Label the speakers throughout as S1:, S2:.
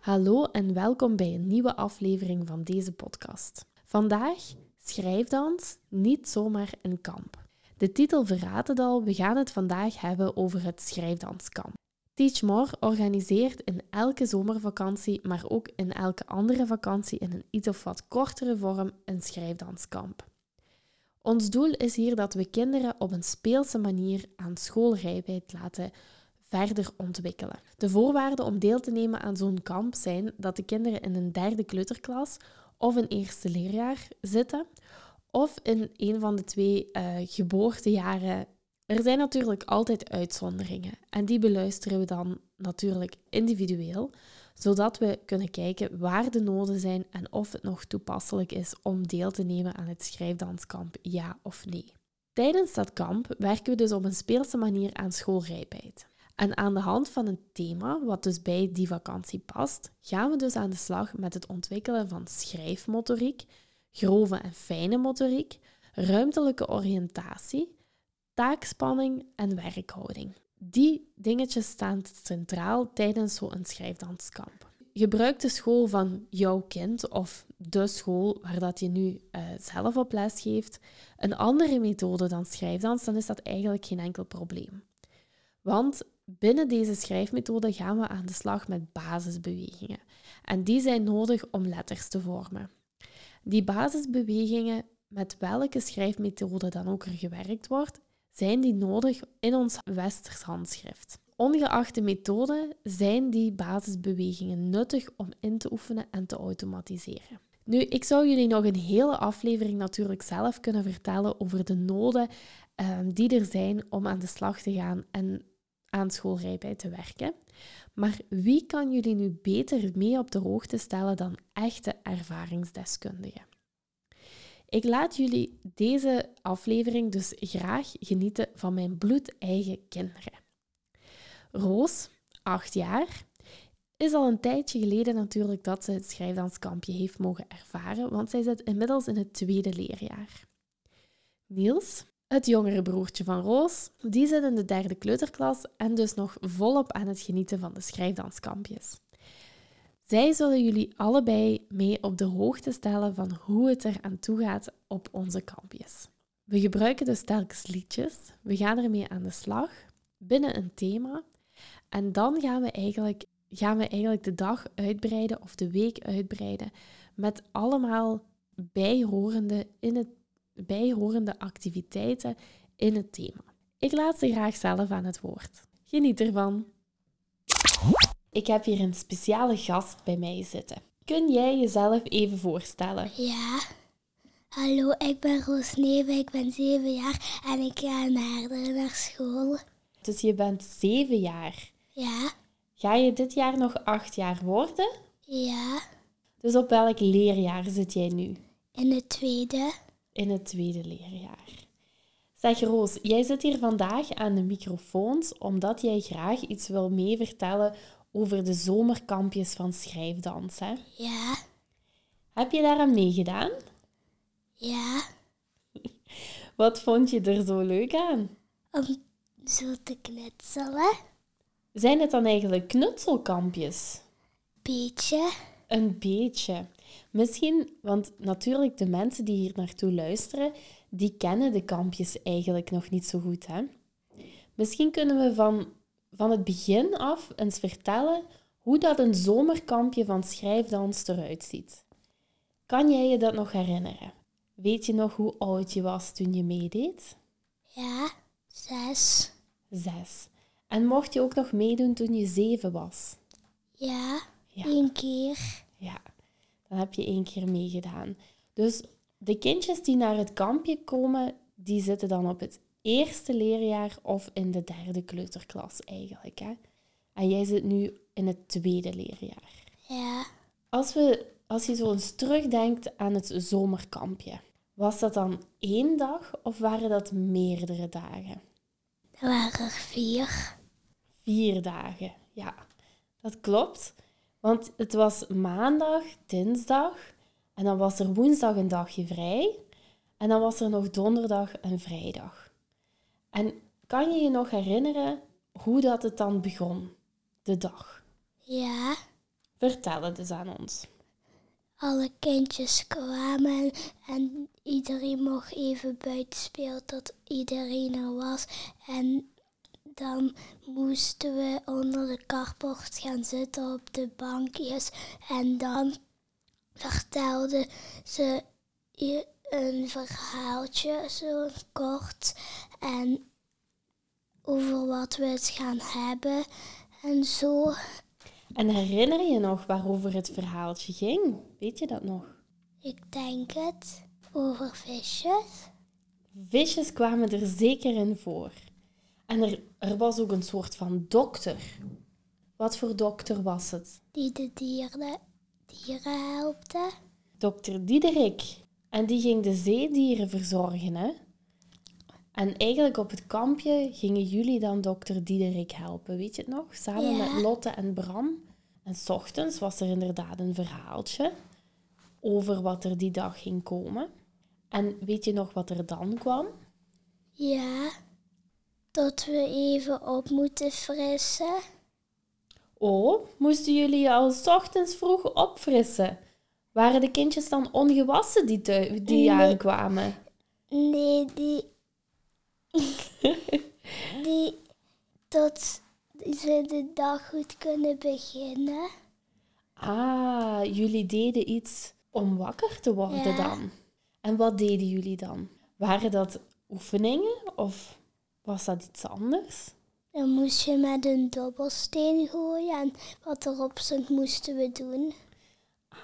S1: Hallo en welkom bij een nieuwe aflevering van deze podcast. Vandaag schrijfdans niet zomaar een kamp. De titel verraadt het al, we gaan het vandaag hebben over het schrijfdanskamp. Teach More organiseert in elke zomervakantie, maar ook in elke andere vakantie in een iets of wat kortere vorm een schrijfdanskamp. Ons doel is hier dat we kinderen op een speelse manier aan schoolrijwijd laten verder ontwikkelen. De voorwaarden om deel te nemen aan zo'n kamp zijn dat de kinderen in een derde kleuterklas of een eerste leerjaar zitten, of in een van de twee eh, geboortejaren. Er zijn natuurlijk altijd uitzonderingen en die beluisteren we dan natuurlijk individueel, zodat we kunnen kijken waar de noden zijn en of het nog toepasselijk is om deel te nemen aan het schrijfdanskamp, ja of nee. Tijdens dat kamp werken we dus op een speelse manier aan schoolrijpheid. En aan de hand van een thema, wat dus bij die vakantie past, gaan we dus aan de slag met het ontwikkelen van schrijfmotoriek, grove en fijne motoriek, ruimtelijke oriëntatie, taakspanning en werkhouding. Die dingetjes staan centraal tijdens zo'n schrijfdanskamp. Gebruik de school van jouw kind of de school waar dat je nu eh, zelf op les geeft een andere methode dan schrijfdans, dan is dat eigenlijk geen enkel probleem. Want binnen deze schrijfmethode gaan we aan de slag met basisbewegingen. En die zijn nodig om letters te vormen. Die basisbewegingen, met welke schrijfmethode dan ook er gewerkt wordt, zijn die nodig in ons westers handschrift. Ongeacht de methode zijn die basisbewegingen nuttig om in te oefenen en te automatiseren. Nu, ik zou jullie nog een hele aflevering natuurlijk zelf kunnen vertellen over de noden eh, die er zijn om aan de slag te gaan en aan schoolrijpheid te werken. Maar wie kan jullie nu beter mee op de hoogte stellen dan echte ervaringsdeskundigen? Ik laat jullie deze aflevering dus graag genieten van mijn bloedeigen kinderen. Roos, 8 jaar, is al een tijdje geleden natuurlijk dat ze het schrijfdanskampje heeft mogen ervaren, want zij zit inmiddels in het tweede leerjaar. Niels, het jongere broertje van Roos, die zit in de derde kleuterklas en dus nog volop aan het genieten van de schrijfdanskampjes. Zij zullen jullie allebei mee op de hoogte stellen van hoe het er aan toe gaat op onze kampjes. We gebruiken dus telkens liedjes, we gaan ermee aan de slag binnen een thema en dan gaan we eigenlijk, gaan we eigenlijk de dag uitbreiden of de week uitbreiden met allemaal bijhorende in het bijhorende activiteiten in het thema. Ik laat ze graag zelf aan het woord. Geniet ervan! Ik heb hier een speciale gast bij mij zitten. Kun jij jezelf even voorstellen?
S2: Ja. Hallo, ik ben Roos Neven, ik ben zeven jaar en ik ga in Herderen naar school.
S1: Dus je bent zeven jaar.
S2: Ja,
S1: Ga je dit jaar nog acht jaar worden?
S2: ja,
S1: Dus op welk leerjaar zit jij nu?
S2: in de tweede.
S1: In het tweede leerjaar. Zeg Roos, jij zit hier vandaag aan de microfoons omdat jij graag iets wil meevertellen over de zomerkampjes van schrijfdans. Hè?
S2: Ja,
S1: Heb je daar aan meegedaan?
S2: ja,
S1: Wat vond je er zo leuk aan?
S2: om zo te knutselen.
S1: Zijn het dan eigenlijk knutselkampjes?
S2: Beetje.
S1: Een beetje. Misschien, want natuurlijk de mensen die hier naartoe luisteren, die kennen de kampjes eigenlijk nog niet zo goed. Hè? Misschien kunnen we van, van het begin af eens vertellen hoe dat een zomerkampje van schrijfdans eruit ziet. Kan jij je dat nog herinneren? Weet je nog hoe oud je was toen je meedeed?
S2: Ja, zes.
S1: Zes. En mocht je ook nog meedoen toen je zeven was?
S2: Ja,
S1: Ja.
S2: één keer.
S1: Ja, dan heb je één keer meegedaan. Dus de kindjes die naar het kampje komen, die zitten dan op het eerste leerjaar of in de derde kleuterklas eigenlijk. Hè? En jij zit nu in het tweede leerjaar.
S2: Ja,
S1: Als we, Als je zo eens terugdenkt aan het zomerkampje, was dat dan één dag of waren dat meerdere dagen?
S2: Er waren er vier.
S1: Vier dagen, ja. Dat klopt. Want het was maandag, dinsdag en dan was er woensdag een dagje vrij. En dan was er nog donderdag en vrijdag. En kan je je nog herinneren hoe dat het dan begon, de dag?
S2: Ja,
S1: Vertel het eens aan ons.
S2: alle kindjes kwamen en, en iedereen mocht even buiten spelen tot iedereen er was. En dan moesten we onder de carport gaan zitten op de bankjes. En dan vertelden ze i- een verhaaltje, zo kort. En over wat we het gaan hebben en zo.
S1: En herinner je nog waarover het verhaaltje ging? Weet je dat nog?
S2: Ik denk het. Over visjes.
S1: Visjes kwamen er zeker in voor. En er, er was ook een soort van dokter. Wat voor dokter was het?
S2: Die de dieren, dieren helpte.
S1: Dokter Diederik. En die ging de zeedieren verzorgen, hè? En eigenlijk op het kampje gingen jullie dan dokter Diederik helpen, weet je het nog? Samen
S2: Ja.
S1: met Lotte en Bram. En 's ochtends was er inderdaad een verhaaltje over wat er die dag ging komen. En weet je nog wat er dan kwam?
S2: Ja. Dat we even op moeten frissen.
S1: Oh, moesten jullie je al 's ochtends vroeg opfrissen? Waren de kindjes dan ongewassen die, thui- die
S2: Nee.
S1: aankwamen?
S2: Nee, die. die. Tot ze de dag goed kunnen beginnen.
S1: Ah, jullie deden iets om wakker te worden
S2: Ja.
S1: dan. En wat deden jullie dan? Waren dat oefeningen of was dat iets anders?
S2: Dan moest je met een dobbelsteen gooien. En wat erop stond, moesten we doen.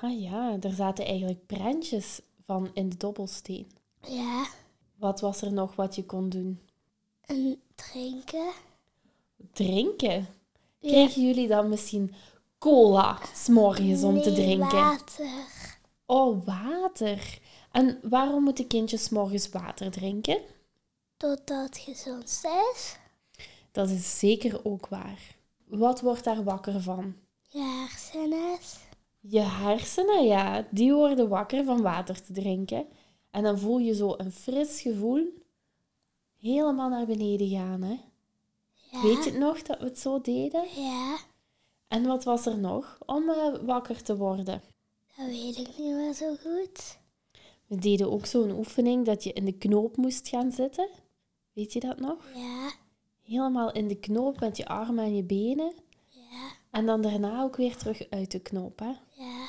S1: Ah ja, er zaten eigenlijk prentjes van in de dobbelsteen.
S2: Ja.
S1: Wat was er nog wat je kon doen?
S2: En drinken.
S1: Drinken.
S2: Ja.
S1: Kregen jullie dan misschien cola s'morgens om te
S2: Nee,
S1: drinken?
S2: Water.
S1: Oh, water. En waarom moeten kindjes 's morgens water drinken?
S2: Totdat het gezond is.
S1: Dat is zeker ook waar. Wat wordt daar wakker van?
S2: Je hersenen.
S1: Je hersenen, ja, die worden wakker van water te drinken. En dan voel je zo een fris gevoel helemaal naar beneden gaan. Hè?
S2: Ja.
S1: Weet je het nog dat we het zo deden?
S2: Ja,
S1: En wat was er nog om eh, wakker te worden?
S2: dat weet ik niet meer zo goed.
S1: We deden ook zo'n oefening dat je in de knoop moest gaan zitten. Weet je dat nog?
S2: Ja,
S1: Helemaal in de knoop met je armen en je benen.
S2: ja,
S1: En dan daarna ook weer terug uit de knoop. Hè?
S2: ja.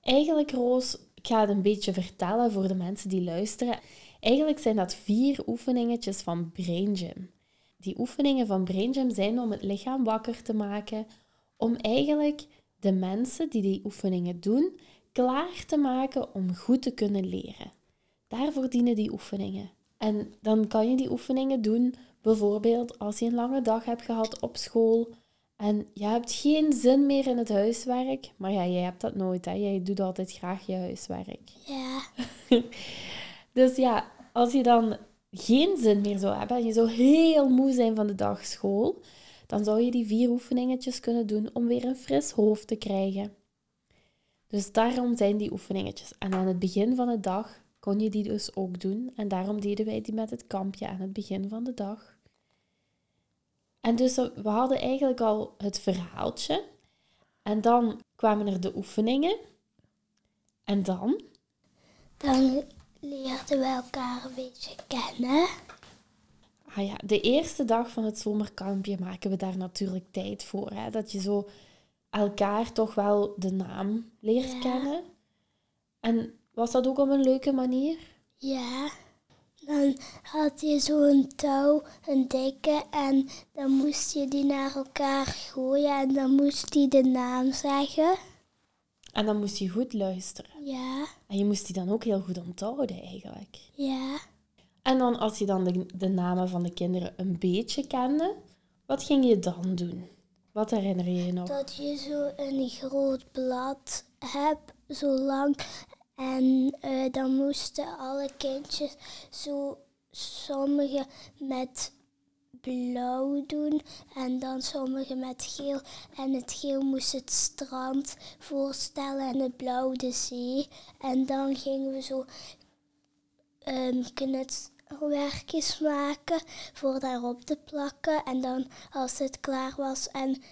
S1: Eigenlijk, Roos, ik ga het een beetje vertellen voor de mensen die luisteren. Eigenlijk zijn dat vier oefeningetjes van Brain Gym. Die oefeningen van Brain Gym zijn om het lichaam wakker te maken, om eigenlijk de mensen die die oefeningen doen klaar te maken om goed te kunnen leren. Daarvoor dienen die oefeningen. En dan kan je die oefeningen doen, bijvoorbeeld als je een lange dag hebt gehad op school en je hebt geen zin meer in het huiswerk. Maar ja, jij hebt dat nooit, hè? Jij doet altijd graag je huiswerk.
S2: ja.
S1: Dus ja, als je dan geen zin meer zou hebben en je zou heel moe zijn van de dag school, dan zou je die vier oefeningetjes kunnen doen om weer een fris hoofd te krijgen. Dus daarom zijn die oefeningetjes. En aan het begin van de dag kon je die dus ook doen. En daarom deden wij die met het kampje aan het begin van de dag. En dus we hadden eigenlijk al het verhaaltje. En dan kwamen er de oefeningen. En dan
S2: Dan leerden we elkaar een beetje kennen.
S1: Ah ja, de eerste dag van het zomerkampje maken we daar natuurlijk tijd voor. Hè? Dat je zo elkaar toch wel de naam leert
S2: Ja.
S1: kennen. En was dat ook op een leuke manier?
S2: Ja. Dan had je zo'n touw, een dikke, en dan moest je die naar elkaar gooien en dan moest die de naam zeggen.
S1: En dan moest je goed luisteren.
S2: Ja,
S1: En je moest die dan ook heel goed onthouden eigenlijk.
S2: ja.
S1: En dan als je dan de, de namen van de kinderen een beetje kende, wat ging je dan doen? Wat herinner je je nog?
S2: Dat je zo een groot blad hebt, zo lang. En eh, dan moesten alle kindjes zo sommige met blauw doen en dan sommige met geel. En het geel moest het strand voorstellen en het blauw de zee. En dan gingen we zo ehm knutselwerkjes maken voor daarop te plakken. En dan als het klaar was en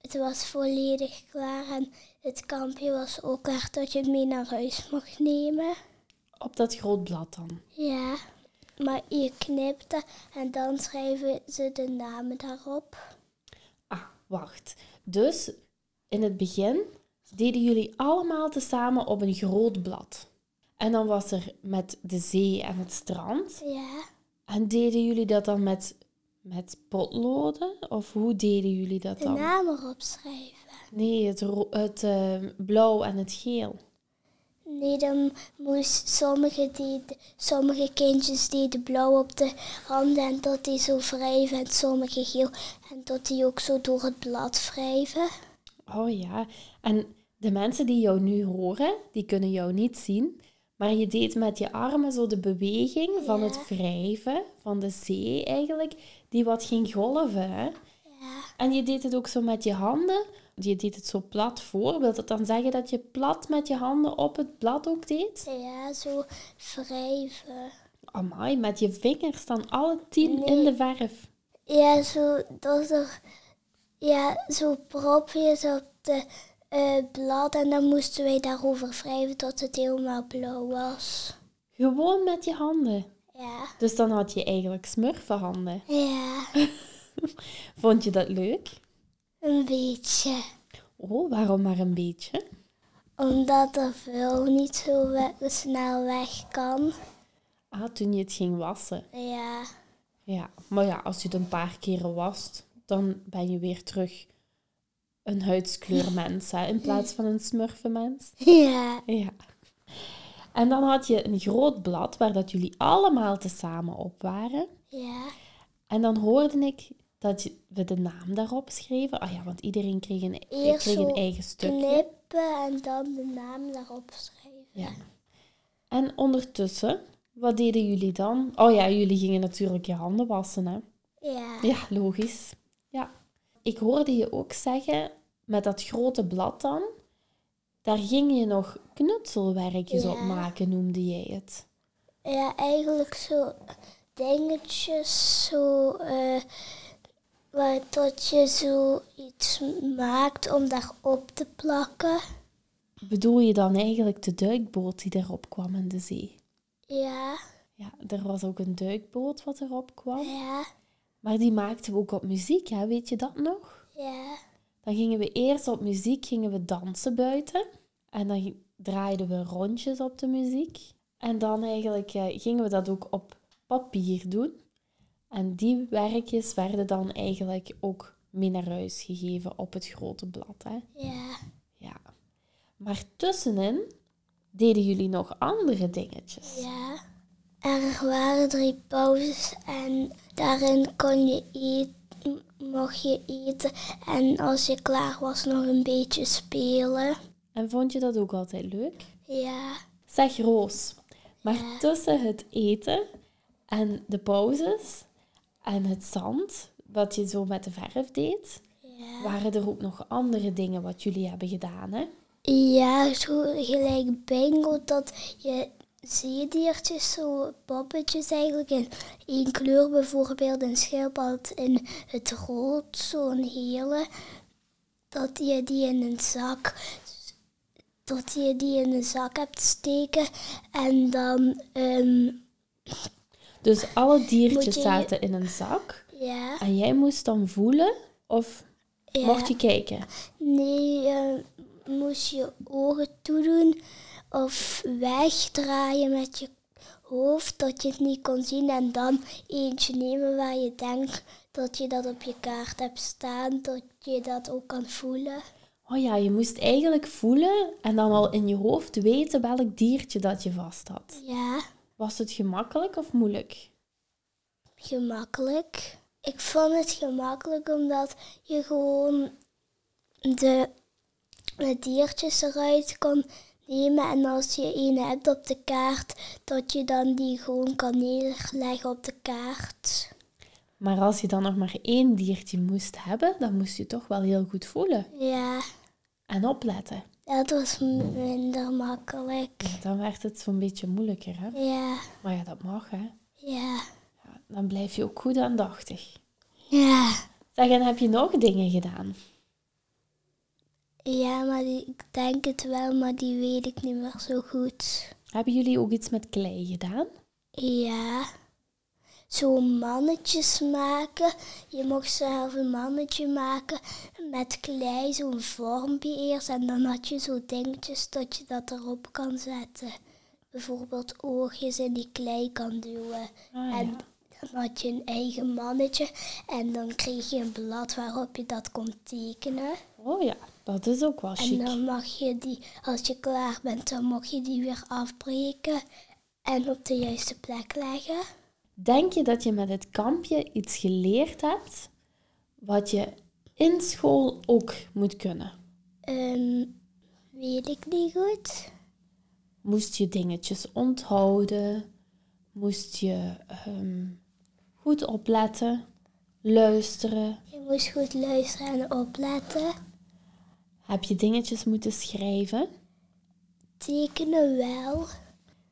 S2: het was volledig klaar en het kampje was ook klaar dat je het mee naar huis mocht nemen.
S1: Op dat groot blad dan.
S2: Ja, maar je knipte en dan schrijven ze de namen daarop.
S1: Ah, wacht. Dus in het begin deden jullie allemaal tezamen op een groot blad. En dan was er met de zee en het strand.
S2: Ja,
S1: En deden jullie dat dan met, met potloden? Of hoe deden jullie dat
S2: de
S1: dan?
S2: namen erop schrijven.
S1: Nee, het, ro- het eh, blauw en het geel.
S2: Nee, dan moest sommige, deden, sommige kindjes deden blauw op de handen en dat die zo wrijven en sommige geel. En dat die ook zo door het blad wrijven.
S1: Oh ja, en de mensen die jou nu horen, die kunnen jou niet zien. Maar je deed met je armen zo de beweging van het wrijven van de zee eigenlijk, die wat ging golven. Hè?
S2: Ja,
S1: En je deed het ook zo met je handen. Je deed het zo plat voor. Wil dat dan zeggen dat je plat met je handen op het blad ook deed?
S2: ja zo wrijven.
S1: Amai, met je vingers dan alle tien in de verf.
S2: Ja, zo dat er ja, zo propjes op de eh, blad en dan moesten wij daarover wrijven tot het helemaal blauw was.
S1: Gewoon met je handen.
S2: Ja.
S1: Dus dan had je eigenlijk smurfenhanden.
S2: Ja,
S1: Vond je dat leuk?
S2: een beetje.
S1: Oh, waarom maar een beetje?
S2: Omdat er veel niet zo we- snel weg kan.
S1: Ah, toen je het ging wassen.
S2: Ja,
S1: Ja, maar ja, als je het een paar keren wast, dan ben je weer terug een huidskleurmens, hè, in plaats van een smurfenmens.
S2: ja,
S1: Ja. En dan had je een groot blad waar dat jullie allemaal tezamen op waren.
S2: ja,
S1: En dan hoorde ik dat je- we de naam daarop schreven. Ah ja, want iedereen kreeg een,
S2: Eerst
S1: kreeg een
S2: zo
S1: eigen stukje.
S2: knippen en dan de naam daarop schrijven.
S1: Ja. En ondertussen, wat deden jullie dan? Oh ja, jullie gingen natuurlijk je handen wassen, hè?
S2: Ja,
S1: Ja, logisch. Ja. Ik hoorde je ook zeggen, met dat grote blad dan, daar ging je nog knutselwerkjes
S2: Ja.
S1: op maken, noemde jij het.
S2: ja eigenlijk zo dingetjes, zo, eh waar dat je zo iets maakt om daarop te plakken.
S1: Bedoel je dan eigenlijk de duikboot die erop kwam in de zee?
S2: Ja,
S1: Ja, er was ook een duikboot wat erop kwam.
S2: ja,
S1: Maar die maakten we ook op muziek, hè? weet je dat nog?
S2: ja,
S1: Dan gingen we eerst op muziek gingen we dansen buiten. En dan gi- draaiden we rondjes op de muziek. En dan eigenlijk eh, gingen we dat ook op papier doen. En die werkjes werden dan eigenlijk ook mee naar huis gegeven op het grote blad. Hè?
S2: ja.
S1: Ja. Maar tussenin deden jullie nog andere dingetjes.
S2: Ja, er waren drie pauzes en daarin kon je eten, mocht je eten en als je klaar was nog een beetje spelen.
S1: En vond je dat ook altijd leuk?
S2: Ja,
S1: Zeg Roos, maar tussen het eten en de pauzes en het zand, wat je zo met de verf deed, waren er ook nog andere dingen wat jullie hebben gedaan, hè?
S2: ja zo gelijk bingo dat je zeediertjes, zo poppetjes eigenlijk in één kleur, bijvoorbeeld een schildpad in het rood, zo'n hele, dat je die in een zak dat je die in een zak hebt steken en dan ehm,
S1: Dus alle
S2: Moet
S1: diertjes
S2: je-
S1: zaten in een zak
S2: ja,
S1: en jij moest dan voelen of
S2: ja.
S1: mocht je kijken?
S2: Nee, je moest je ogen toedoen of wegdraaien met je hoofd dat je het niet kon zien. En dan eentje nemen waar je denkt dat je dat op je kaart hebt staan, dat je dat ook kan voelen.
S1: Oh ja, je moest eigenlijk voelen en dan al in je hoofd weten welk diertje dat je vast had.
S2: Ja,
S1: Was het gemakkelijk of moeilijk?
S2: gemakkelijk. Ik vond het gemakkelijk omdat je gewoon de de diertjes eruit kan nemen. En als je een hebt op de kaart, dat je dan die gewoon kan neerleggen op de kaart.
S1: Maar als je dan nog maar één diertje moest hebben, dan moest je toch wel heel goed voelen
S2: Ja,
S1: en opletten.
S2: dat was m- minder makkelijk.
S1: Want Dan werd het zo'n beetje moeilijker, hè?
S2: Ja,
S1: Maar ja, dat mag, hè?
S2: ja,
S1: Ja, dan blijf je ook goed aandachtig.
S2: ja.
S1: Zeg, en heb je nog dingen gedaan?
S2: Ja, maar die, ik denk het wel, maar die weet ik niet meer zo goed.
S1: Hebben jullie ook iets met klei gedaan?
S2: Ja. Zo mannetjes maken. Je mocht zelf een mannetje maken met klei, zo'n vormpje eerst. En dan had je zo dingetjes dat je dat erop kan zetten. Bijvoorbeeld oogjes in die klei kan duwen.
S1: Ah,
S2: En dan had je een eigen mannetje. En dan kreeg je een blad waarop je dat kon tekenen.
S1: Oh ja, dat is ook wel
S2: En
S1: chic.
S2: dan mag je die, als je klaar bent, dan mag je die weer afbreken en op de juiste plek leggen.
S1: Denk je dat je met het kampje iets geleerd hebt wat je in school ook moet kunnen?
S2: Ehm, weet ik niet goed.
S1: Moest je dingetjes onthouden? Moest je ehm, goed opletten? Luisteren?
S2: Je moest goed luisteren en opletten.
S1: Heb je dingetjes moeten schrijven?
S2: Tekenen wel.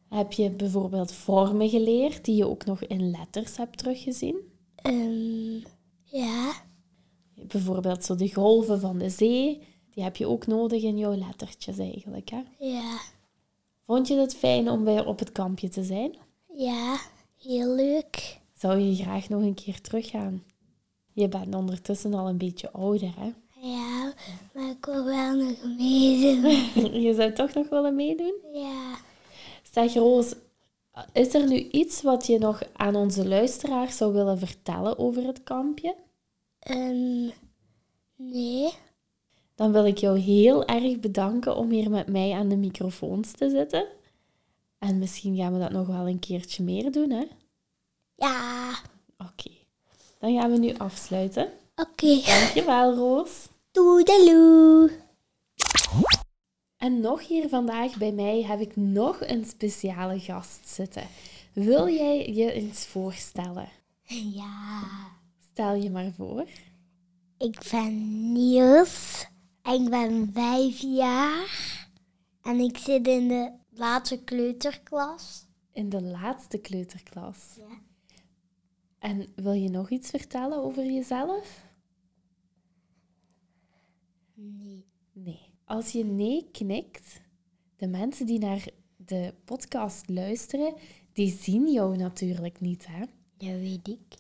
S1: Heb je bijvoorbeeld vormen geleerd die je ook nog in letters hebt teruggezien?
S2: Ehm, ja,
S1: Bijvoorbeeld zo de golven van de zee, die heb je ook nodig in jouw lettertjes eigenlijk. Hè?
S2: ja,
S1: Vond je het fijn om weer op het kampje te zijn?
S2: ja. Heel leuk.
S1: Zou je graag nog een keer teruggaan? Je bent ondertussen al een beetje ouder, hè?
S2: Ja, maar ik wil wel nog meedoen.
S1: Je zou toch nog willen meedoen?
S2: Ja.
S1: Zeg Roos, is er nu iets wat je nog aan onze luisteraars zou willen vertellen over het kampje?
S2: Ehm, nee.
S1: Dan wil ik jou heel erg bedanken om hier met mij aan de microfoons te zitten. En misschien gaan we dat nog wel een keertje meer doen, hè?
S2: Ja.
S1: Oké. Dan gaan we nu afsluiten.
S2: Oké.
S1: Dankjewel, Roos.
S2: Toedeloe.
S1: En nog hier vandaag bij mij heb ik nog een speciale gast zitten. Wil jij je eens voorstellen?
S2: Ja.
S1: Stel je maar voor.
S2: Ik ben Niels. Ik ben vijf jaar. En ik zit in de laatste kleuterklas.
S1: In de laatste kleuterklas.
S2: Ja.
S1: En wil je nog iets vertellen over jezelf?
S2: Nee.
S1: Nee. Als je nee knikt, de mensen die naar de podcast luisteren, die zien jou natuurlijk niet, hè?
S2: Dat weet ik.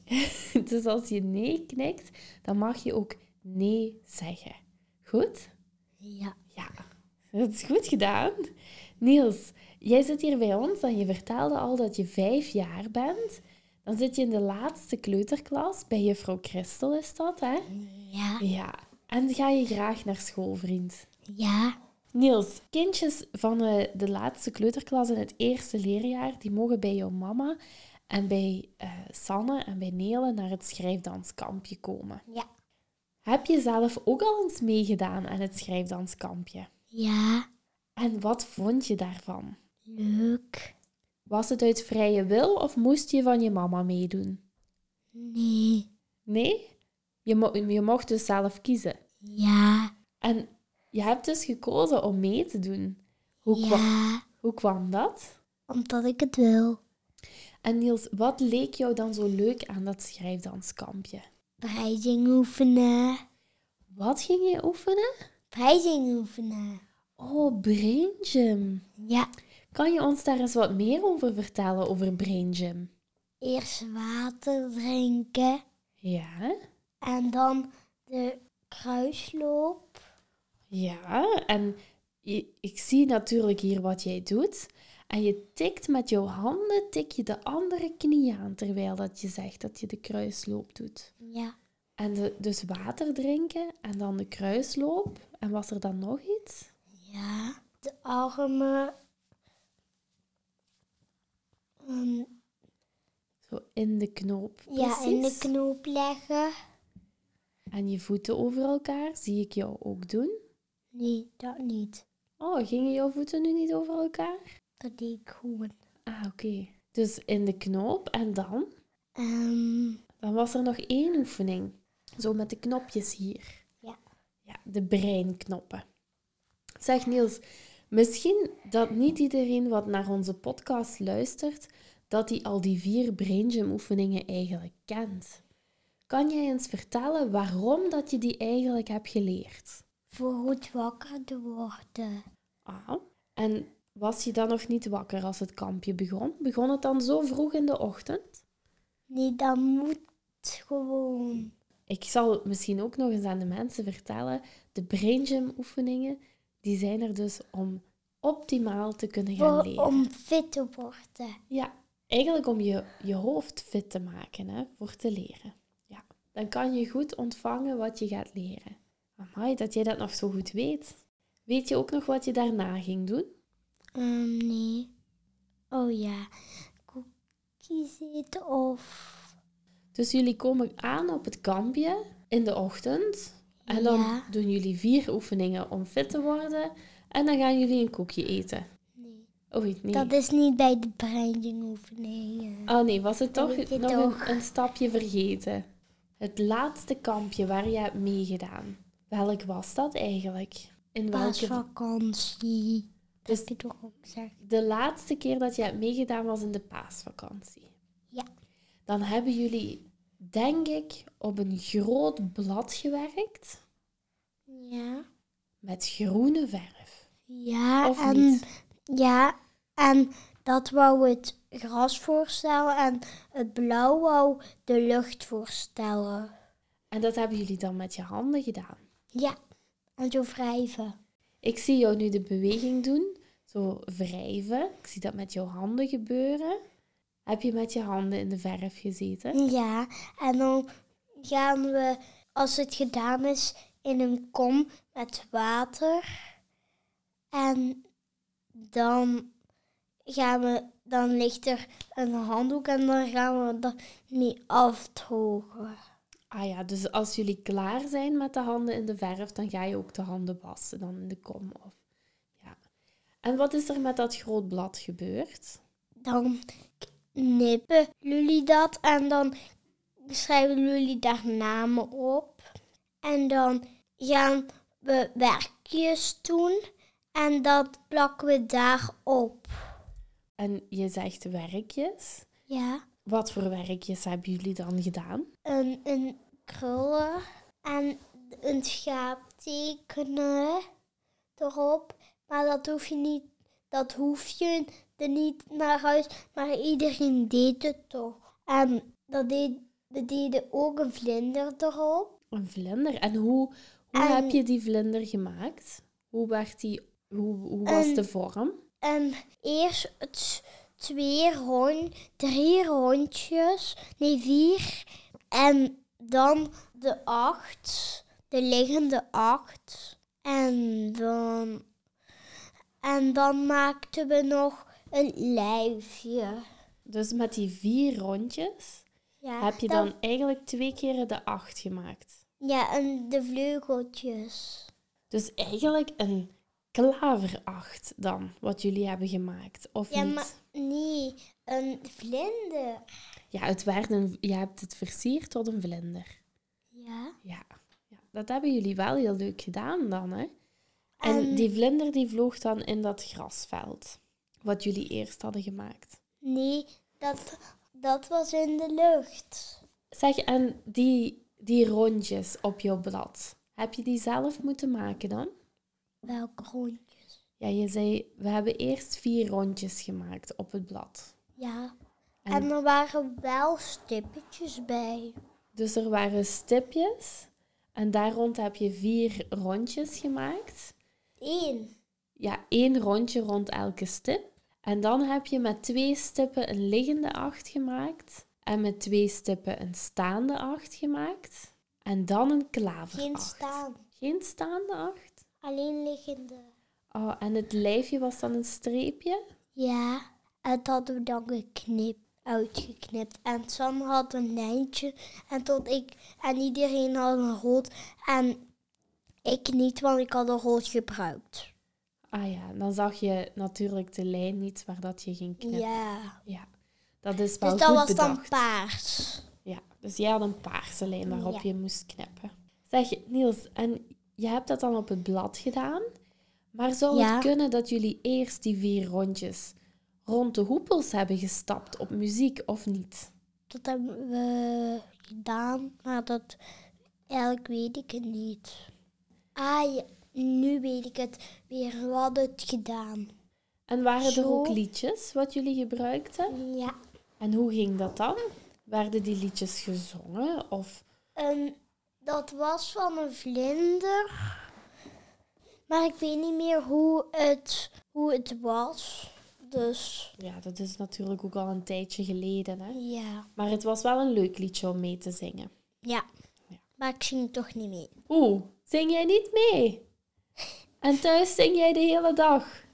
S1: Dus als je nee knikt, dan mag je ook nee zeggen. Goed?
S2: Ja.
S1: Ja, dat is goed gedaan. Niels, jij zit hier bij ons en je vertelde al dat je vijf jaar bent. Dan zit je in de laatste kleuterklas bij juffrouw Christel, is dat, hè?
S2: Ja.
S1: Ja. En ga je graag naar school, vriend?
S2: Ja.
S1: Niels, kindjes van eh, de laatste kleuterklas in het eerste leerjaar, die mogen bij jouw mama en bij eh, Sanne en bij Nele naar het schrijfdanskampje komen.
S2: Ja.
S1: Heb je zelf ook al eens meegedaan aan het schrijfdanskampje?
S2: Ja.
S1: En wat vond je daarvan?
S2: Leuk.
S1: Was het uit vrije wil of moest je van je mama meedoen?
S2: Nee.
S1: Nee? Je, mo- je mocht dus zelf kiezen.
S2: Ja.
S1: En je hebt dus gekozen om mee te doen. Hoe, kwa-
S2: Ja.
S1: hoe kwam dat?
S2: Omdat ik het wil.
S1: En Niels, wat leek jou dan zo leuk aan dat schrijfdanskampje?
S2: Prijzing oefenen.
S1: Wat ging je oefenen?
S2: Prijzing oefenen.
S1: Oh, Brain Gym.
S2: Ja.
S1: Kan je ons daar eens wat meer over vertellen, over Brain Gym?
S2: Eerst water drinken.
S1: Ja?
S2: En dan de kruisloop.
S1: Ja, en je- ik zie natuurlijk hier wat jij doet. En je tikt met jouw handen, tik je de andere knie aan terwijl dat je zegt dat je de kruisloop doet.
S2: Ja.
S1: En de- dus water drinken en dan de kruisloop. En was er dan nog iets?
S2: Ja. De armen. ehm,
S1: Zo in de knoop.
S2: ja, in de
S1: precies.
S2: knoop leggen.
S1: En je voeten over elkaar zie ik jou ook doen.
S2: Nee, dat niet.
S1: Oh, gingen jouw voeten nu niet over elkaar?
S2: Dat deed ik gewoon.
S1: Ah, oké. Dus in de knoop en dan?
S2: Ehm,
S1: Dan was er nog één oefening. Zo met de knopjes hier.
S2: Ja.
S1: Ja, de breinknoppen. Zeg Niels, misschien dat niet iedereen wat naar onze podcast luistert, dat die al die vier Brain Gym oefeningen eigenlijk kent. Kan jij eens vertellen waarom dat je die eigenlijk hebt geleerd?
S2: voor goed wakker te worden.
S1: Ah, en was je dan nog niet wakker als het kampje begon? Begon het dan zo vroeg in de ochtend?
S2: Nee, dat moet gewoon.
S1: Ik zal het misschien ook nog eens aan de mensen vertellen. De Brain Gym oefeningen, die zijn er dus om optimaal te kunnen gaan
S2: Voor,
S1: leren.
S2: om fit te worden.
S1: Ja, eigenlijk om je, je hoofd fit te maken hè, voor te leren. Ja, dan kan je goed ontvangen wat je gaat leren. Amai, dat jij dat nog zo goed weet. Weet je ook nog wat je daarna ging doen?
S2: Ehm, nee. Oh ja, koekjes eten of...
S1: Dus jullie komen aan op het kampje in de ochtend. En dan
S2: Ja.
S1: doen jullie vier oefeningen om fit te worden. En dan gaan jullie een koekje eten.
S2: Nee.
S1: Oei, nee.
S2: Dat is niet bij de breinjing-oefeningen.
S1: Oh nee, was het
S2: Dat
S1: toch
S2: weet je
S1: nog
S2: toch.
S1: Een, een stapje vergeten? Het laatste kampje waar je hebt meegedaan. Welk was dat eigenlijk? In welke...
S2: Paasvakantie.
S1: Dus-
S2: Dat heb je toch ook gezegd?
S1: De laatste keer dat je hebt meegedaan was in de paasvakantie.
S2: Ja.
S1: Dan hebben jullie, denk ik, op een groot blad gewerkt
S2: Ja.
S1: met groene verf.
S2: Ja,
S1: Of
S2: en...
S1: niet?
S2: Ja, en dat wou het gras voorstellen en het blauw wou de lucht voorstellen.
S1: En dat hebben jullie dan met je handen gedaan.
S2: Ja, en zo wrijven.
S1: Ik zie jou nu de beweging doen, zo wrijven. Ik zie dat met jouw handen gebeuren. Heb je met je handen in de verf gezeten?
S2: Ja, en dan gaan we, als het gedaan is, in een kom met water. En dan gaan we, dan ligt er een handdoek en dan gaan we dat mee afdrogen.
S1: Ah ja, dus als jullie klaar zijn met de handen in de verf, dan ga je ook de handen wassen, dan in de kom of. Ja. En wat is er met dat groot blad gebeurd?
S2: dan knippen jullie dat en dan schrijven jullie daar namen op. En dan gaan we werkjes doen en dat plakken we daarop.
S1: En je zegt werkjes.
S2: Ja,
S1: Wat voor werkjes hebben jullie dan gedaan?
S2: een, een krullen en een schaap tekenen erop. Maar dat hoef je niet, dat hoef je er niet naar huis. Maar iedereen deed het toch. En dat deed, we deden ook een vlinder erop.
S1: Een vlinder. En hoe, hoe
S2: En-
S1: heb je die vlinder gemaakt? Hoe, werd die, hoe, hoe was
S2: Een-
S1: de vorm?
S2: En Ehm, eerst het twee rond, drie rondjes, nee vier. En dan de acht, de liggende acht. En dan, en dan maakten we nog een lijfje.
S1: Dus met die vier rondjes
S2: Ja,
S1: heb je
S2: dat-
S1: dan eigenlijk twee keren de acht gemaakt.
S2: Ja, en de vleugeltjes.
S1: Dus eigenlijk een klaveracht dan, wat jullie hebben gemaakt, of
S2: Ja,
S1: niet?
S2: maar nee, een vlinder.
S1: Ja, het werd een, je hebt het versierd tot een vlinder.
S2: Ja.
S1: Ja. ja, dat hebben jullie wel heel leuk gedaan dan, hè? En
S2: En-
S1: die vlinder die vloog dan in dat grasveld, wat jullie eerst hadden gemaakt.
S2: Nee, dat, dat was in de lucht.
S1: Zeg, en die, die rondjes op jouw blad, heb je die zelf moeten maken dan?
S2: Welke rondjes?
S1: Ja, je zei, we hebben eerst vier rondjes gemaakt op het blad.
S2: Ja.
S1: En-
S2: En, er waren wel stippetjes bij.
S1: Dus er waren stipjes en daar rond heb je vier rondjes gemaakt.
S2: Eén.
S1: Ja, één rondje rond elke stip. En dan heb je met twee stippen een liggende acht gemaakt. En met twee stippen een staande acht gemaakt. En dan een klaveracht.
S2: Geen staan.
S1: Geen staande acht.
S2: Alleen liggende.
S1: Oh, en het lijfje was dan een streepje.
S2: Ja. En dat hadden we dan geknipt. uitgeknipt. En Sam had een lijntje en tot ik en iedereen had een rood en ik niet, want ik had een rood gebruikt.
S1: Ah ja, dan zag je natuurlijk de lijn niet waar dat je ging knippen.
S2: Ja.
S1: Ja, dat is wel
S2: Dus dat
S1: goed
S2: was
S1: bedacht.
S2: dan paars.
S1: Ja, dus jij had een paarse lijn waarop
S2: Ja.
S1: je moest knippen. Zeg, Niels, en je hebt dat dan op het blad gedaan, maar zou
S2: Ja.
S1: het kunnen dat jullie eerst die vier rondjes rond de hoepels hebben gestapt op muziek of niet?
S2: Dat hebben we gedaan, maar dat eigenlijk weet ik het niet. Ah, ja, nu weet ik het weer. We hadden het gedaan.
S1: En waren er ook
S2: Zo.
S1: liedjes wat jullie gebruikten?
S2: Ja.
S1: En hoe ging dat dan? Werden die liedjes gezongen of
S2: Ehm, dat was van een vlinder. Maar ik weet niet meer hoe het, hoe het was. Dus
S1: Ja, dat is natuurlijk ook al een tijdje geleden. Hè?
S2: ja.
S1: Maar het was wel een leuk liedje om mee te zingen.
S2: Ja.
S1: Ja.
S2: Maar ik zing toch niet mee.
S1: Oeh, zing jij niet mee? En thuis zing jij de hele dag.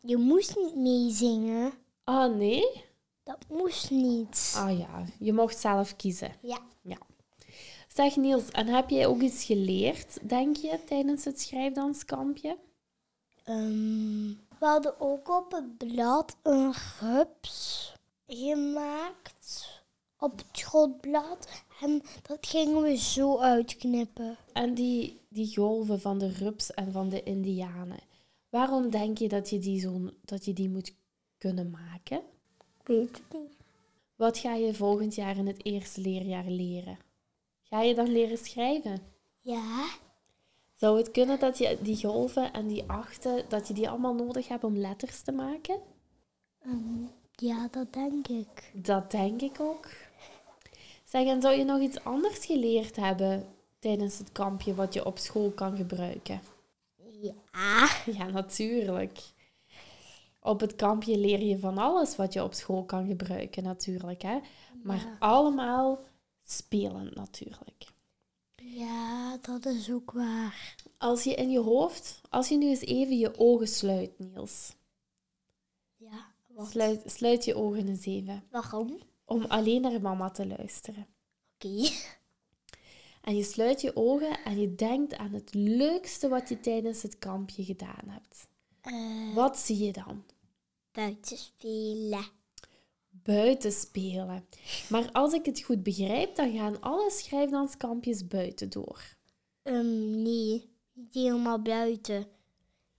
S2: Je moest niet meezingen.
S1: Ah, nee?
S2: Dat moest niet.
S1: Ah ja, je mocht zelf kiezen.
S2: Ja.
S1: Zeg Niels, en heb jij ook iets geleerd, denk je, tijdens het schrijfdanskampje?
S2: Ehm, we hadden ook op het blad een rups gemaakt. Op het grondblad. En dat gingen we zo uitknippen.
S1: En die, die golven van de rups en van de indianen. Waarom denk je dat je die, zo, dat je die moet kunnen maken?
S2: Ik weet het niet.
S1: Wat ga je volgend jaar in het eerste leerjaar leren? Ga je dan leren schrijven?
S2: Ja.
S1: Zou het kunnen dat je die golven en die achten, dat je die allemaal nodig hebt om letters te maken?
S2: Ehm, ja, dat denk ik.
S1: Dat denk ik ook. Zeg, en zou je nog iets anders geleerd hebben tijdens het kampje wat je op school kan gebruiken?
S2: Ja.
S1: Ja, natuurlijk. Op het kampje leer je van alles wat je op school kan gebruiken, natuurlijk. Hè? Maar
S2: Ja.
S1: allemaal spelend, natuurlijk.
S2: Ja, dat is ook waar.
S1: Als je in je hoofd, als je nu eens even je ogen sluit, Niels.
S2: Ja. Wat?
S1: Sluit, sluit je ogen eens even.
S2: Waarom? Oké.
S1: om alleen naar mama te luisteren. En je sluit je ogen en je denkt aan het leukste wat je tijdens het kampje gedaan hebt.
S2: Eh,
S1: Wat zie je dan?
S2: buiten spelen.
S1: Buiten spelen. Maar als ik het goed begrijp, dan gaan alle schrijfdanskampjes buiten door.
S2: Ehm, nee. Niet helemaal buiten.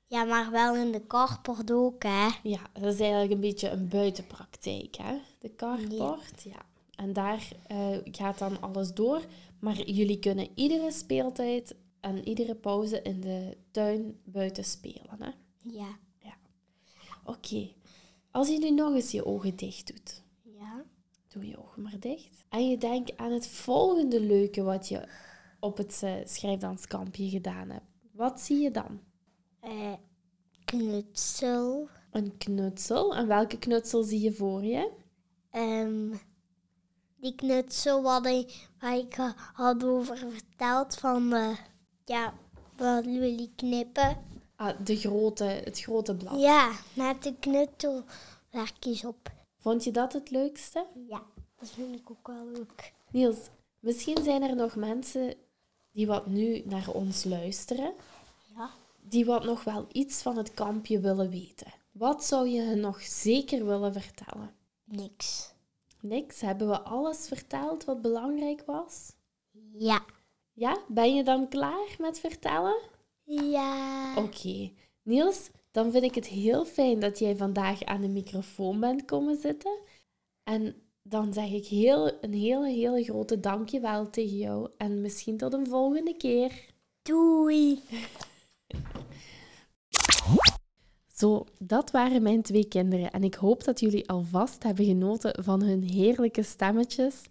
S2: Ja, maar wel in de karport ook, hè.
S1: Ja, dat is eigenlijk een beetje een buitenpraktijk, hè? De carport, ja. En daar eh, gaat dan alles door. Maar jullie kunnen iedere speeltijd en iedere pauze in de tuin buiten spelen, hè?
S2: Ja.
S1: Oké. Als je nu nog eens je ogen dicht doet,
S2: Ja.
S1: doe je ogen maar dicht. En je denkt aan het volgende leuke wat je op het eh, schrijfdanskampje gedaan hebt. Wat zie je dan?
S2: Eh, knutsel.
S1: Een knutsel. En welke knutsel zie je voor je?
S2: Ehm, die knutsel wat ik, waar ik eh, had over verteld van... eh, ja, wat jullie knippen.
S1: Ah, de grote, het grote blad.
S2: Ja, met de knutselwerkjes op.
S1: Vond je dat het leukste?
S2: Ja, dat vind ik ook wel leuk.
S1: Niels, misschien zijn er nog mensen die wat nu naar ons luisteren,
S2: Ja.
S1: die wat nog wel iets van het kampje willen weten. Wat zou je hen nog zeker willen vertellen?
S2: Niks.
S1: Niks, hebben we alles verteld wat belangrijk was?
S2: Ja.
S1: Ja, ben je dan klaar met vertellen?
S2: Ja.
S1: Oké, Niels, dan vind ik het heel fijn dat jij vandaag aan de microfoon bent komen zitten. En dan zeg ik heel, een hele, hele grote dankjewel tegen jou. En misschien tot een volgende keer.
S2: Doei.
S1: Zo, dat waren mijn twee kinderen en ik hoop dat jullie alvast hebben genoten van hun heerlijke stemmetjes.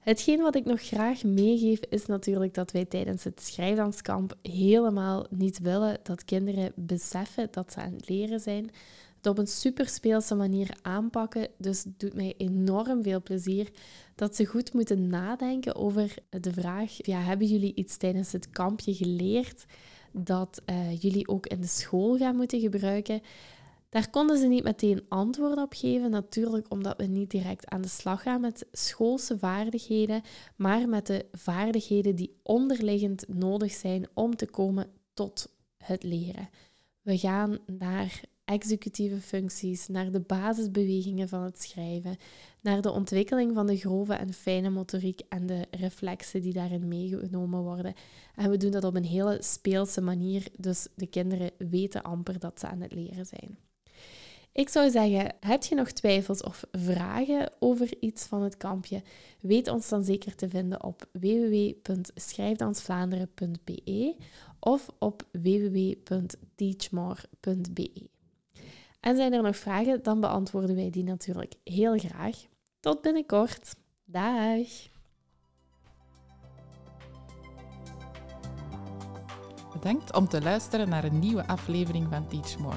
S1: Hetgeen wat ik nog graag meegeef is natuurlijk dat wij tijdens het schrijfdanskamp helemaal niet willen dat kinderen beseffen dat ze aan het leren zijn. Het op een superspeelse manier aanpakken, dus het doet mij enorm veel plezier dat ze goed moeten nadenken over de vraag, ja, hebben jullie iets tijdens het kampje geleerd? dat eh, jullie ook in de school gaan moeten gebruiken. Daar konden ze niet meteen antwoord op geven, natuurlijk omdat we niet direct aan de slag gaan met schoolse vaardigheden, maar met de vaardigheden die onderliggend nodig zijn om te komen tot het leren. We gaan naar executieve functies, naar de basisbewegingen van het schrijven, naar de ontwikkeling van de grove en fijne motoriek en de reflexen die daarin meegenomen worden. En we doen dat op een hele speelse manier, dus de kinderen weten amper dat ze aan het leren zijn. Ik zou zeggen, heb je nog twijfels of vragen over iets van het kampje? Weet ons dan zeker te vinden op www.schrijfdansvlaanderen.be of op www.teachmore.be. En zijn er nog vragen, dan beantwoorden wij die natuurlijk heel graag. Tot binnenkort. Dag!
S3: Bedankt om te luisteren naar een nieuwe aflevering van Teach More,